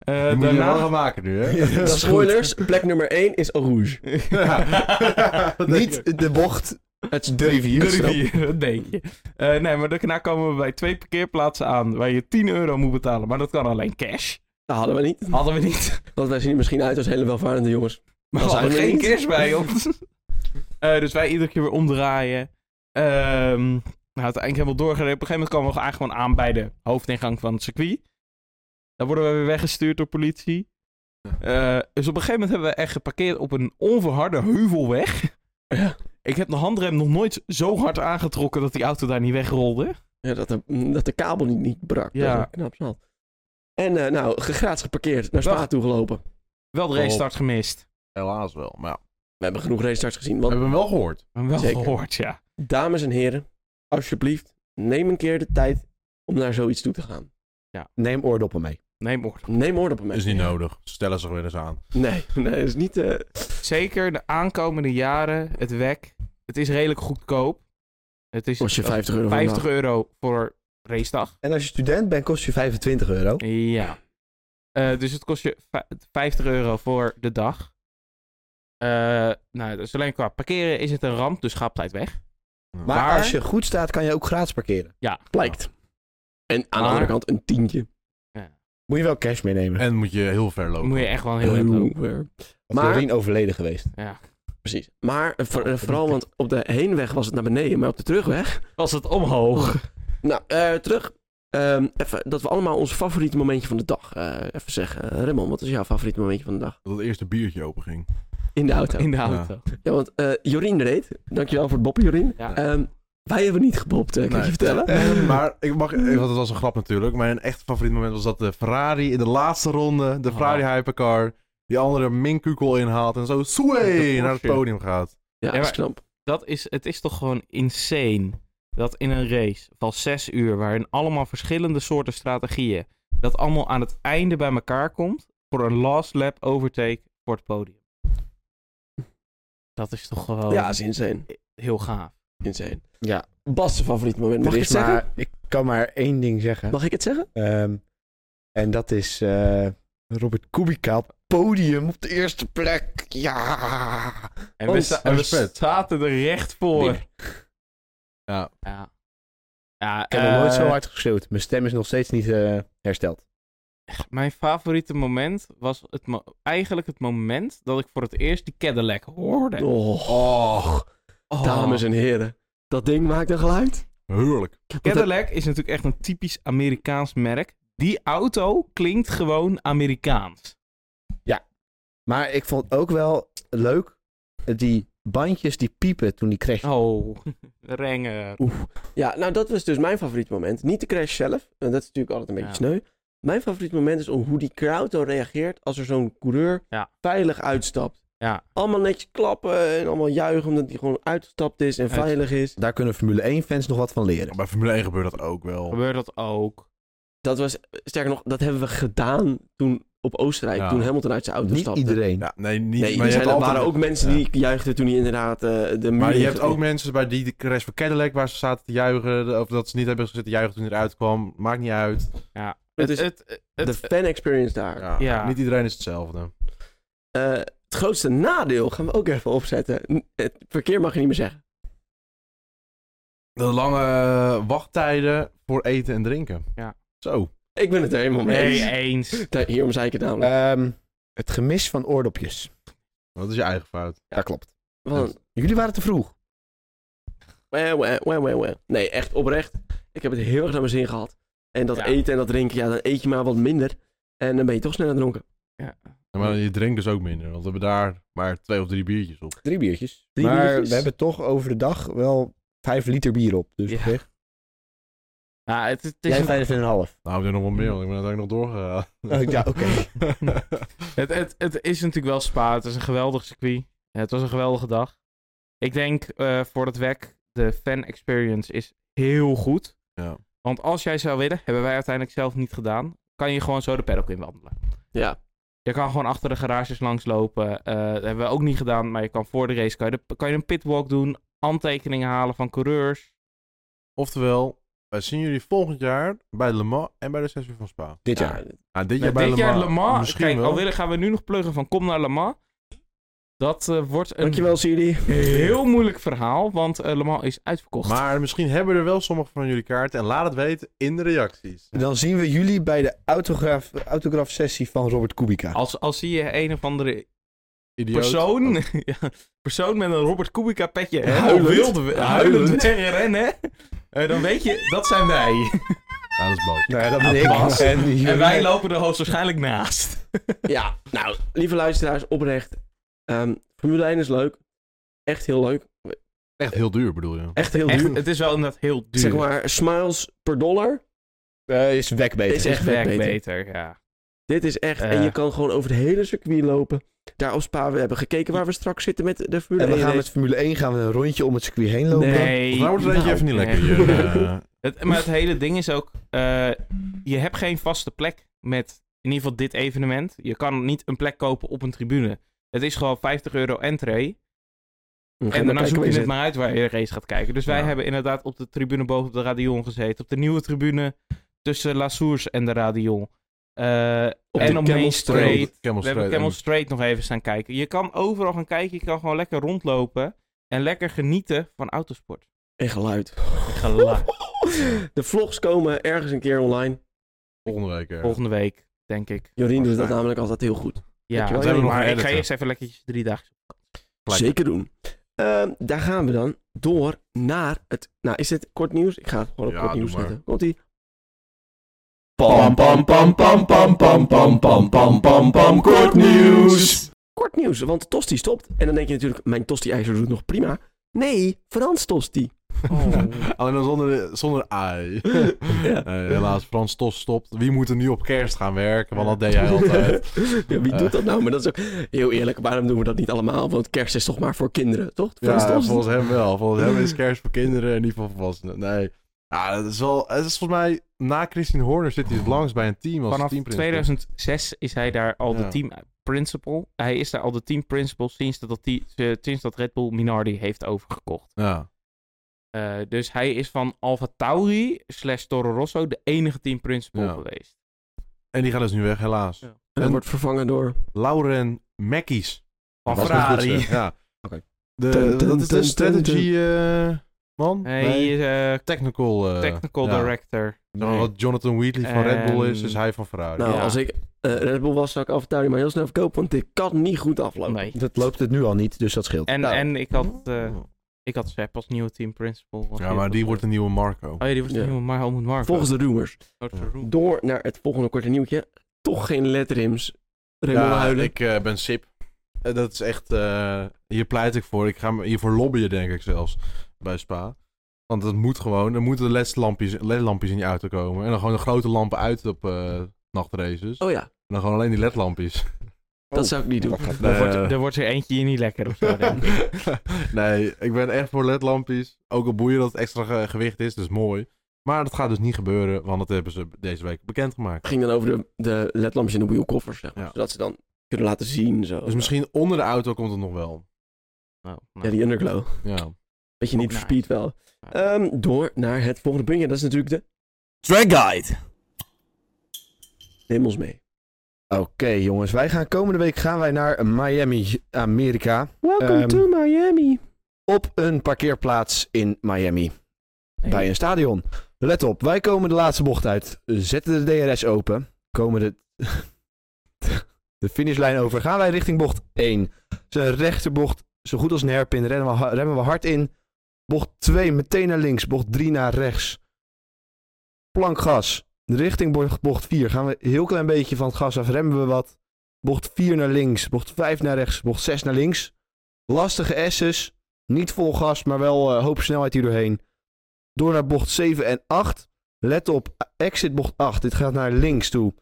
Eh, Die moet je wel daarna... gaan maken nu, hè? Dat is Spoilers, plek nummer 1 is Rouge. Ja. goed. Niet de bocht. Het is De rivier. De snap. rivier, dat denk je. Eh, nee, maar daarna komen we bij twee parkeerplaatsen aan waar je 10 euro moet betalen. Maar dat kan alleen cash. Dat hadden we niet, Hadden we niet. want wij zien er misschien uit als hele welvarende jongens. Maar we Dat hadden zijn we geen niet. cash bij ons. Eh, dus wij iedere keer weer omdraaien. Ehm, nou, uiteindelijk helemaal doorgereden. Op een gegeven moment komen we eigenlijk gewoon aan bij de hoofdingang van het circuit. Dan worden we weer weggestuurd door politie. Eh, dus op een gegeven moment hebben we echt geparkeerd op een onverharde heuvelweg. Ja. Ik heb de handrem nog nooit zo hard aangetrokken dat die auto daar niet wegrolde. Ja, dat, de, dat de kabel niet, niet brak. Ja. Ja. Dat is knap zat. En eh, nou, gegraats geparkeerd, naar Spa Wacht. toegelopen. Wel de Top. race start gemist. Helaas wel. Maar ja, We hebben genoeg racestarts gezien, we want hebben hem wel gehoord. Maar wel Zeker. gehoord, ja. dames en heren, alsjeblieft, neem een keer de tijd om naar zoiets toe te gaan. Neem oordoppen mee. Nee, moord. Neem oordop op mij. Is niet nodig. Stellen ze weer eens aan. Nee, nee, is niet... eh, Zeker de aankomende jaren, het WEC. Het is redelijk goedkoop. Het is Kost je 50 euro 50 vandaag. euro voor racedag. En als je student bent, kost je 25 euro. Ja. Eh, dus het kost je vij- 50 euro voor de dag. Eh nou, dus alleen qua parkeren is het een ramp, dus ga op tijd weg. Ja. Maar, Maar- als je goed staat, kan je ook gratis parkeren. blijkt. En aan de Maar- andere kant een tientje. Moet je wel cash meenemen. En moet je heel ver lopen. Moet je echt wel heel erg lopen. Heel Maar... Maar- Doreen overleden geweest. Ja. Precies. Maar eh, voor- eh, vooral, want op de heenweg was het naar beneden, maar op de terugweg... Was het omhoog? Nou, eh, terug. Ehm, even dat we allemaal ons favoriete momentje van de dag eh, even zeggen. Eh, Raymond, wat is jouw favoriete momentje van de dag? Dat het eerste biertje open ging. In de auto. In de auto. Ja, want eh, Jorien reed. Dankjewel voor het boppen, Jorien. Ja. Ehm, wij hebben niet gebopt, eh, kan Nee. je vertellen? Eh, maar ik mag, eh, want het was een grap natuurlijk. Mijn echt favoriet moment was dat de Ferrari in de laatste ronde, de Ferrari Hypercar, die andere minkukel inhaalt en zo De sway naar het Porsche. podium gaat. Ja, dat Ja, is maar- knap. dat is, het is toch gewoon insane dat in een race van zes uur, waarin allemaal verschillende soorten strategieën, dat allemaal aan het einde bij elkaar komt voor een last lap overtake voor het podium. Dat is toch gewoon Ja, dat is insane. heel gaaf. insane. Ja. Bas' favoriete moment. Mag Er ik is het zeggen? maar- ik kan maar één ding zeggen. Mag ik het zeggen? Ehm, en dat is eh, Robert Kubica op podium op de eerste plek. Ja. En Oh, we, sta- en we respect. zaten er recht voor. Ja. Ja. Ja, Ik heb nog nooit eh, zo hard geschreeuwd. Mijn stem is nog steeds niet eh, hersteld. Mijn favoriete moment was het mo- eigenlijk het moment dat ik voor het eerst die Cadillac hoorde. Oh. Och, Oh. Dames en heren, dat ding maakt een geluid. Heerlijk. Cadillac is natuurlijk echt een typisch Amerikaans merk. Die auto klinkt gewoon Amerikaans. Maar ik vond ook wel leuk die bandjes die piepen toen die crash. Oh, renger. Ja, nou dat was dus mijn favoriet moment. Niet de crash zelf, want dat is natuurlijk altijd een beetje Ja. sneu. Mijn favoriet moment is om hoe die crowd dan reageert als er zo'n coureur Ja. veilig uitstapt. Ja. Allemaal netjes klappen en allemaal juichen omdat hij gewoon uitgestapt is en Uit- veilig is. Daar kunnen Formule 1 fans nog wat van leren. Bij Formule 1 gebeurt dat ook wel. Gebeurt dat ook? Dat was, sterker nog, dat hebben we gedaan toen op Oostenrijk, Ja. toen Hamilton uit zijn auto Niet stapte. iedereen. Ja, nee, Nee, niet. er maar je zijn- hebt er altijd... waren ook mensen Ja. die juichten toen hij inderdaad eh, de muur Maar je in- hebt ook mensen bij die de crash van Cadillac waar ze zaten te juichen. Of dat ze niet hebben gezeten te juichen toen hij eruit kwam. Maakt niet uit. Het is het, het- de fan experience daar. Ja. Ja. Niet iedereen is hetzelfde. Eh, het grootste nadeel gaan we ook even opzetten. N- Het verkeer mag je niet meer zeggen. De lange eh, wachttijden voor eten en drinken. Ja. Zo. Ik ben het er helemaal mee eens. nee, eens. Daar- Hierom zei ik het namelijk. Ehm, het gemis van oordopjes. Eh, Dat is je eigen fout. Dat klopt. Want, Jullie waren te vroeg. wah, wah, wah, wah, wah. Nee, echt oprecht. Ik heb het heel erg naar mijn zin gehad. En dat Ja. eten en dat drinken, ja, dan eet je maar wat minder. En dan ben je toch sneller dronken. Ja, Maar je drinkt dus ook minder. Want we hebben daar maar twee of drie biertjes op. Nou, Drie biertjes. Drie maar biertjes? we hebben toch over de dag wel vijf liter bier op. Dus Ja. op zich. Ja, het, het is Jij een- vijf en een half. Nou, we doen nog wel meer, want ik ben uiteindelijk nog doorgegaan. Oh, ja, oké. Het, het, het is natuurlijk wel Spa. Het is een geweldig circuit. Het was een geweldige dag. Ik denk eh, voor het WEC, de fan experience is heel goed. Ja. Want als jij zou willen, hebben wij uiteindelijk zelf niet gedaan, kan je gewoon zo de paddock in wandelen. Ja. Je kan gewoon achter de garages langslopen. Eh, dat hebben we ook niet gedaan, maar je kan voor de race kan je, de- kan je een pitwalk doen, handtekeningen halen van coureurs. Oftewel, wij zien jullie volgend jaar bij Le Mans en bij de sessie van Spa. Dit jaar. Ja, Nou, Nou, dit jaar bij dit Le jaar Mans. Le Mans. Misschien Kijk, wel. al willen gaan we nu nog pluggen van kom naar Le Mans. Dat eh, wordt een Mm. Dankjewel, Siri. heel moeilijk verhaal, want eh, Le Mans is uitverkocht. Maar misschien hebben er wel sommige van jullie kaarten. En laat het weten in de reacties. Dan zien we jullie bij de autograaf, autograaf sessie van Robert Kubica. Als, als zie je een of andere Idioot. persoon, ja, persoon met een Robert Kubica petje hè, Huilend. op wilde we- Huilend. huilend wegrennen, eh, dan weet je, dat zijn wij. Ja, dat is boos. Nou ja, dat ben ik. Bas. En, jullie- En wij lopen er hoogstwaarschijnlijk naast. Ja, nou, lieve luisteraars, oprecht. Ehm, Formule 1 is leuk. Echt heel leuk. Echt heel duur bedoel je. Echt heel Echt, duur. het is wel inderdaad heel duur. Zeg maar, smiles per dollar Eh, is weg beter. is het echt is vet werk beter. beter, ja. Dit is echt... En Eh. je kan gewoon over het hele circuit lopen. Daar op Spa, we hebben gekeken waar we straks zitten met de Formule En 1 we gaan race. met Formule 1 gaan we een rondje om het circuit heen lopen. Nee. Nou wordt het nou, eentje even niet lekker nee. hier. eh. Het- maar het hele ding is ook, eh, je hebt geen vaste plek met in ieder geval dit evenement. Je kan niet een plek kopen op een tribune. Het is gewoon 50 euro entree. En, En daarna dan zoek je het maar. maar uit waar je de race gaat kijken. Dus wij Ja. hebben inderdaad op de tribune boven op de Radion gezeten. Op de nieuwe tribune tussen La Source en de Radion. Eh, en op Main Street. Camel We hebben Straight. Camel Straight nog even staan kijken. Je kan overal gaan kijken. Je kan gewoon lekker rondlopen. En lekker genieten van autosport. En geluid. Geluid. De vlogs komen ergens een keer online. Volgende week. eh. ergens. Volgende week, denk ik. Jorien doet dat Waarschijnlijk. namelijk altijd heel goed. Ja, Dankjewel, Jorien. maar ik ga Editor. eerst even lekker drie dagen. Blijkbaar. Zeker doen. Ehm, daar gaan we dan door naar het... Nou, is dit kort nieuws? Ik ga het gewoon op Ja, kort doe nieuws maar. zetten. Komt-ie. Pam pam pam pam pam pam pam pam pam pam pam kort nieuws. Kort nieuws, want Tosti stopt. En dan denk je natuurlijk, mijn Tosti-ijzer doet nog prima. Nee, Frans Tosti. Oh. Alleen dan zonder, de- zonder AI. Eh, helaas, Frans Tos stopt. Wie moet er nu op kerst gaan werken? Want dat deed hij altijd. ja, wie Eh. doet dat nou? Maar dat is ook heel eerlijk. Waarom doen we dat niet allemaal? Want kerst is toch maar voor kinderen, toch? Frans ja, Tosti. volgens hem wel. Volgens hem is kerst voor kinderen en niet voor volwassenen. Nee. Ja, dat is wel... Het is volgens mij... Na Christine Horner zit hij het langst bij een team als Vanaf teamprinsip. 2006 is hij daar al Ja. de team principal. Hij is daar al de team principal sinds dat, dat, die- eh, sinds dat Red Bull Minardi heeft overgekocht. Ja. Eh, dus hij is van Alfa Tauri slash Toro Rosso de enige team principal Ja. geweest. En die gaat dus nu weg, helaas. Ja. En dat wordt vervangen door... Lauren Mackies. Van Was mijn Ferrari. eh, goedste. Ja. Oké. De, Dun, dun, dat is de dun, dun, strategy... eh, man? Hij Nee. is eh, Technical... eh, technical ja. director. Ehm, Nou, Wat Jonathan Wheatley van Red Bull is, is En- hij van Ferrari. Nou, Ja. als ik eh, Red Bull was, zou ik Alphatauri maar heel snel verkopen, want dit kan niet goed aflopen. Nee. Dat loopt het nu al niet, dus dat scheelt. En, Nou. en ik had... eh, Ik had Sepp als nieuwe team principal. Of Ja, maar die wordt een nieuwe Marco. Oh ja, die wordt een Ja. nieuwe Mar Helmut Marko. Volgens de rumors. Oh, de roem. Door naar het volgende korte nieuwtje. Toch geen letrims. Raymond huilen. ik eh, ben sip. Eh, dat is echt... eh, hier pleit ik voor. Ik ga me hiervoor lobbyen, denk ik zelfs. Bij Spa. Want dat moet gewoon. Er moeten ledlampjes, ledlampjes in je auto komen. En dan gewoon de grote lampen uit op eh, nachtraces. Oh ja, En dan gewoon alleen die ledlampjes. Oh. dat zou ik niet doen. Er, wordt, Eh, er wordt er eentje hier niet lekker of zo, denk ik. nee, ik ben echt voor ledlampjes. Ook al boeien dat het extra ge- gewicht is, dus mooi. Maar dat gaat dus niet gebeuren, want dat hebben ze deze week bekendgemaakt. ging dan over de, de ledlampjes in de wielkoffers, zeg maar. Ja. Zodat ze dan kunnen laten zien, zo. Dus misschien onder de auto komt het nog wel. Nou, Ja, die underglow. Ja. Beetje niet Ook verspied wel. nou, Ehm, door naar het volgende puntje. Dat is natuurlijk de... Track Guide. Neem ons mee. Oké jongens, wij gaan komende week gaan wij naar Miami, Amerika. Welcome Ehm, to Miami. Op een parkeerplaats in Miami. nee. Bij een stadion. Let op, wij komen de laatste bocht uit. Zetten de DRS open. Komen de, de finishlijn over. Gaan wij richting bocht 1. Zijn rechterbocht, zo goed als een herpin. Remmen we, ha- remmen we hard in. Bocht 2 meteen naar links. Bocht 3 naar rechts. Plank gas. Richting bocht- bocht 4 gaan we een heel klein beetje van het gas af. Remmen we wat. Bocht 4 naar links. Bocht 5 naar rechts. Bocht 6 naar links. Lastige S's. Niet vol gas, maar wel eh, hoop snelheid hier doorheen. Door naar bocht 7 en 8. Let op, exit bocht 8. Dit gaat naar links toe.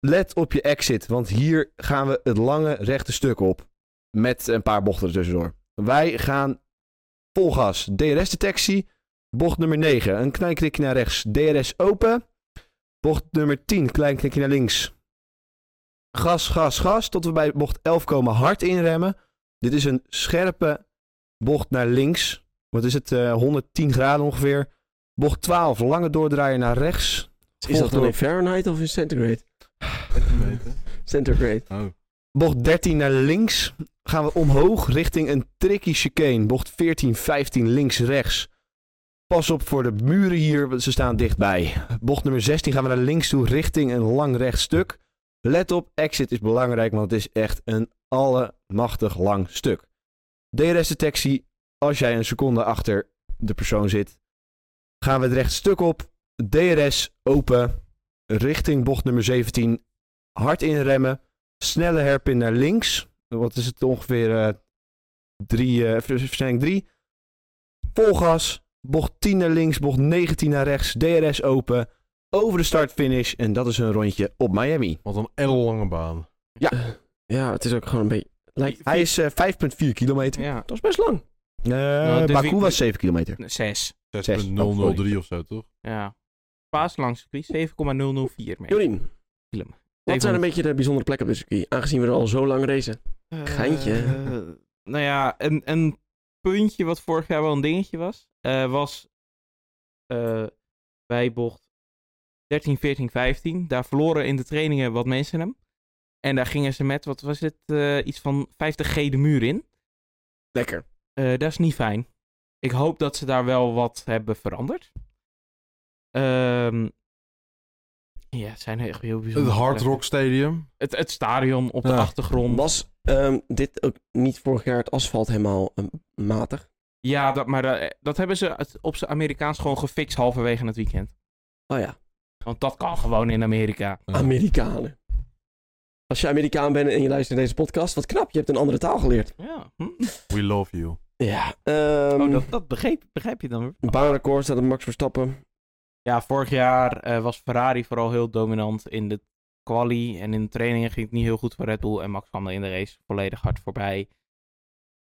Let op je exit, want hier gaan we het lange rechte stuk op. Met een paar bochten ertussendoor. Wij gaan vol gas. DRS-detectie. Bocht nummer 9. Een klein knikje naar rechts. DRS open. Bocht nummer 10. Klein knikje naar links. Gas, gas, gas. Tot we bij bocht 11 komen. Hard inremmen. Dit is een scherpe bocht naar links wat is het, eh, 110 graden ongeveer. Bocht 12, lange doordraaien naar rechts. Is dat dan door- in Fahrenheit of in centigrade? Centigrade. Oh. Bocht 13 naar links. Gaan we omhoog richting een tricky chicane. Bocht 14, 15, links, rechts. Pas op voor de muren hier, want ze staan dichtbij. Bocht nummer 16 gaan we naar links toe richting een lang recht stuk. Let op, exit is belangrijk, want het is echt een allemachtig lang stuk. DRS-detectie, als jij een seconde achter de persoon zit, gaan we het recht stuk op. DRS open, richting bocht nummer 17, hard inremmen, snelle herpin naar links. Wat is het ongeveer? eh, drie, eh, vers- versnelling 3. Vol gas, bocht 10 naar links, bocht 19 naar rechts, DRS open, over de start-finish en dat is een rondje op Miami. Wat een ellenlange baan. Ja, het is ook gewoon een beetje... Lijkt... Hij is eh, 5,4 kilometer. Ja, Dat is best lang. Eh, Nou, dit Baku weekend- was 7 kilometer. zes. 6.003 of zo, toch? Ja. Paas langs circuit 7,004 meter. Jorien, wat zijn een beetje de bijzondere plekken op dit circuit? Aangezien we er al zo lang racen. Eh, Geintje. nou ja, een, een puntje wat vorig jaar wel een dingetje was, eh, was eh, bij bocht 13, 14, 15. Daar verloren in de trainingen wat mensen hem. En daar gingen ze met, wat was het, eh, iets van 50G de muur in. Lekker. Eh, dat is niet fijn. Ik hoop dat ze daar wel wat hebben veranderd. Ehm, ja, het zijn echt heel Het bijzonder. Hard Rock Stadium. Het, het stadion op de Ja. achtergrond. Was ehm, dit ook niet vorig jaar het asfalt helemaal ehm, matig? Ja, dat, maar dat, dat hebben ze het- op zijn Amerikaans gewoon gefixt halverwege het weekend. Oh ja, Want dat kan gewoon in Amerika. Ja. Amerikanen. Als je Amerikaan bent en je luistert naar deze podcast, wat knap, je hebt een andere taal geleerd. Ja. Hm? We love you. Ja. ehm, Oh, dat, dat begreep, begrijp je dan weer. Baanrecord staat op Max Verstappen. Ja, vorig jaar eh, was Ferrari vooral heel dominant in de quali. En in de trainingen ging het niet heel goed voor Red Bull. En Max kwam er in de race volledig hard voorbij.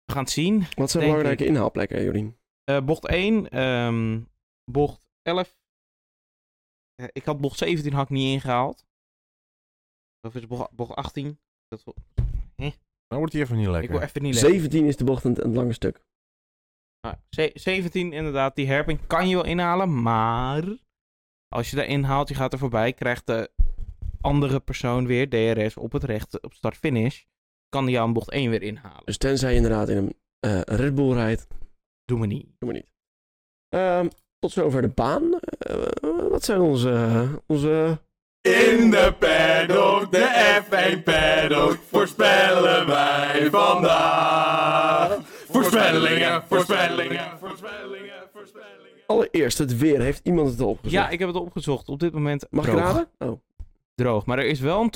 We gaan het zien. Wat zijn Denk belangrijke inhaalplekken, Jorien? Eh, bocht 1, ehm, bocht 11. Eh, ik had bocht 17 had ik niet ingehaald. Of is het bocht, bocht 18? Dat, wo- Nou wordt hij even niet ik wil lekker. even niet lezen. 17 is de bocht aan het, aan het lange stuk. Nou, ze- 17 inderdaad, die herping kan je wel inhalen, maar als je daarin haalt, je gaat er voorbij, krijgt de andere persoon weer DRS op het recht, op start-finish, kan die aan bocht 1 weer inhalen. Dus tenzij je inderdaad in een eh, een Red Bull rijdt, Doe me niet. doe maar niet. Ehm, tot zover de baan. Eh, wat zijn onze... onze... In de paddock, de F1 paddock, voorspellen wij vandaag. Voorspellingen, voorspellingen, voorspellingen, voorspellingen. Allereerst het weer. Heeft iemand het al opgezocht? Ja, ik heb het opgezocht. Op dit moment Mag ik droog. raden? Oh. droog. Maar er is wel een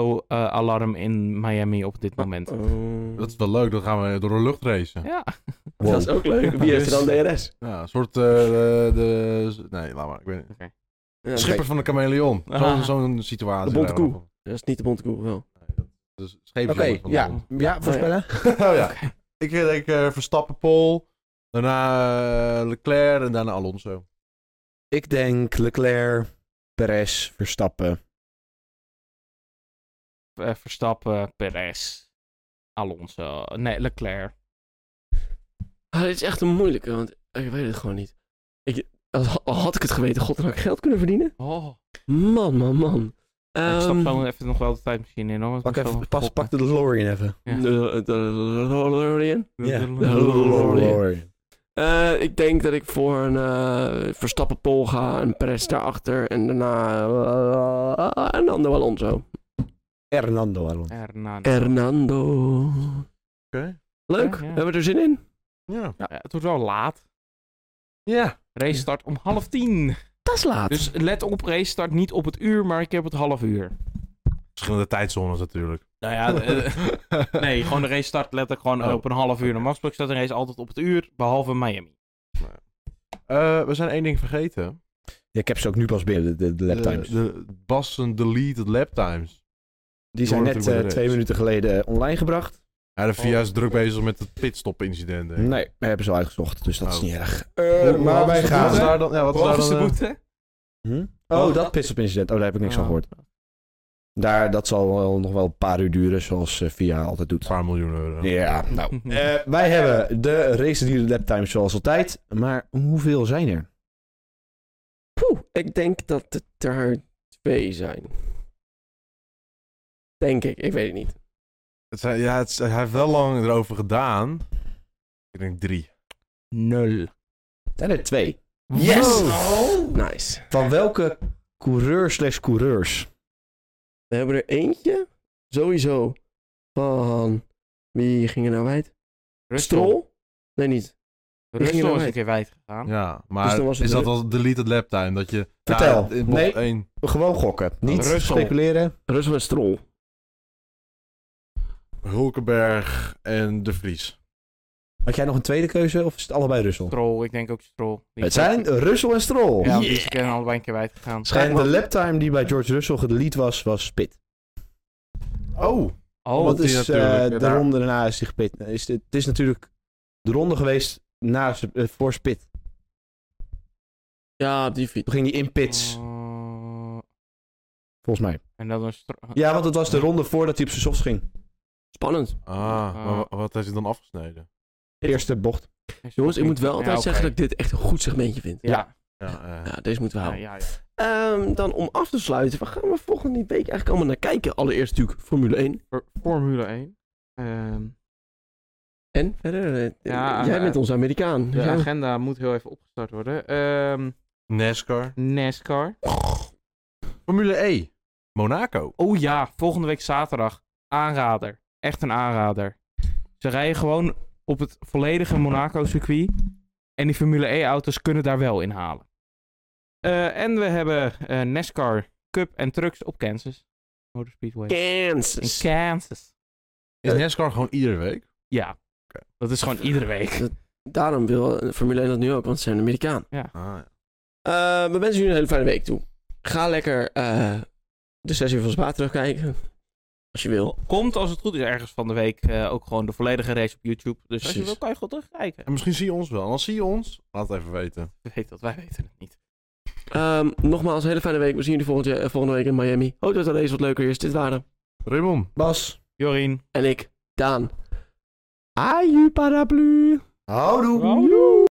tornado-alarm in Miami op dit moment. Oh. Dat is wel leuk, dan gaan we door de lucht racen. Ja. Dat is ook leuk. Wie heeft er dan DRS? Ja, een soort... eh, de, de- nee, laat maar. Ik weet niet. Ja, Schipper van de chameleon. Zo'n Ah. zo'n situatie. De bonte daar. koe. Dat is niet de bonte koe, wel. Dus Oké, scheepsjongens van de ja. bond. Ja, voorspellen. oh, ja. Ik denk eh Verstappen, Pol. Daarna eh, Leclerc en daarna Alonso. Ik denk Leclerc, Perez, Verstappen. Eh, Verstappen, Perez, Alonso, nee, Leclerc. Ah, dit is echt een moeilijke, want ik weet het gewoon niet. Ik, als, al had ik het geweten, god, dan had ik geld kunnen verdienen. Oh, Man, man, man. ik stap Ehm, gewoon even nog wel de tijdmachine in hoor. Pak, even, pas, pak de DeLorean even. Ja. de- de- de- DeLorean. Ja. Oh, DeLorean. Eh, ik denk dat ik voor een eh, Verstappen pol ga, een Perez daarachter en daarna eh, Hernando Alonso. Hernando Alonso. Hernando. Hernando. Oké. Leuk, Ja, ja. hebben we er zin in? Ja. Ja, het wordt wel laat. Ja. Race start om half tien. Dat is laat. Dus let op, race start niet op het uur, maar ik heb het half uur. Verschillende tijdzones natuurlijk. Nou ja, eh, nee, gewoon de race start letterlijk gewoon Oh. op een half uur. Normaal gesproken staat een race altijd op het uur, behalve Miami. Eh, we zijn één ding vergeten. Ja, ik heb ze ook nu pas binnen, de, de, de laptimes. De, de Bassen deleted laptimes. Die zijn Door net eh, natuurlijk bij de twee race. minuten geleden eh, online gebracht. Ja, de Oh. VIA is druk bezig met het pitstop incident. denk ik. Nee, we hebben ze al uitgezocht, dus dat is Oh. niet erg. Eh, Hoe- hoe maar hoog wij is de gaan. boete? Wat is daar dan? Ja, wat is Wat daar is de dan? eh, boete? Hm? Oh, Oh, dat- Ah. dat pistop incident. Oh, daar heb ik niks Ja. van gehoord. Daar, dat zal wel, nog wel een paar uur duren, zoals eh, VIA altijd doet. Een paar miljoen euro. Ja, nou. Eh, wij hebben de race die laptimes zoals altijd. Maar hoeveel zijn er? Poeh, ik denk dat het er twee zijn. Denk ik, ik weet het niet. Het zijn, ja, het is- hij heeft wel lang erover gedaan. Ik denk drie. Nul. Zijn er twee. Yes! Oh. Nice. Van welke coureur slash coureurs? We hebben er eentje, sowieso, van... Wie ging er nou wijd? Strol? Nee, niet. ging Rustel er is mee. een keer wijd gegaan. Ja, maar dan was het is dat drie. als deleted laptime? Dat je... Vertel. Ja, in bocht Nee. één. Gewoon gokken. Niet Russell. speculeren. Russell en Strol. Hulkenberg en De Vries. Had jij nog een tweede keuze of is het allebei Russell? Strol, ik denk ook Strol. Die Het zijn Oh. Russell en Stroll. Ja, die is keer allebei een keer Eh, wijd gegaan. En de laptime die bij George Russell gedelete was, was Pit. Oh! Oh, Want die is, eh, natuurlijk, de daar- ronde daarna is die gepit. Is dit- het is natuurlijk de ronde geweest na, z- eh, voor Spit. Ja, op die fiets. Toen ging hij in pits, Eh, volgens mij. en dan een Strol. Ja, want het was de ronde voordat hij op zijn softs ging. Spannend. Ah, maar Ah. wa- wat heeft hij dan afgesneden? Eerste bocht. Jongens, ik moet wel altijd Ja, zeggen dat oké. ik dit echt een goed segmentje vind. Ja, Ja, eh, Ja, deze moeten we ja, houden. ja, ja. Ehm, dan om af te sluiten, waar gaan we volgende week eigenlijk allemaal naar kijken? Allereerst natuurlijk Formule 1. Voor- Formule 1. Ehm, En verder, eh, Ja, jij eh, bent onze Amerikaan. de Dus jij- agenda moet heel even opgestart worden. Ehm, NASCAR. NASCAR. Formule E. Monaco. Oh ja, volgende week zaterdag. Aanrader. Echt een aanrader. Ze rijden gewoon op het volledige Monaco-circuit. En die Formule E-auto's kunnen daar wel in halen. Eh, en we hebben eh, NASCAR Cup en Trucks op Kansas. Motor Speedway. In Kansas. Kansas. Is Eh. NASCAR gewoon iedere week? Ja. Dat is gewoon iedere week. Daarom wil eh, Formule 1 dat nu ook, want ze zijn Amerikaan. Ah, ja. Eh, we wensen jullie een hele fijne week toe. Ga lekker eh, de sessie van Spa terugkijken. Als je wil. Komt als het goed is ergens van de week eh, ook gewoon de volledige race op YouTube. Dus als je Precies. wil kan je gewoon terugkijken. En misschien zie je ons wel. En als zie je ons, laat het even weten. Ik weet dat, wij weten het niet. Ehm, nogmaals, een hele fijne week. We zien jullie volgende, eh, volgende week in Miami. Hoop dat de race wat leuker is. Dit waren Raymond. Bas, Jorien. en ik, Daan. Aju paraplu. houdoe. Hallo.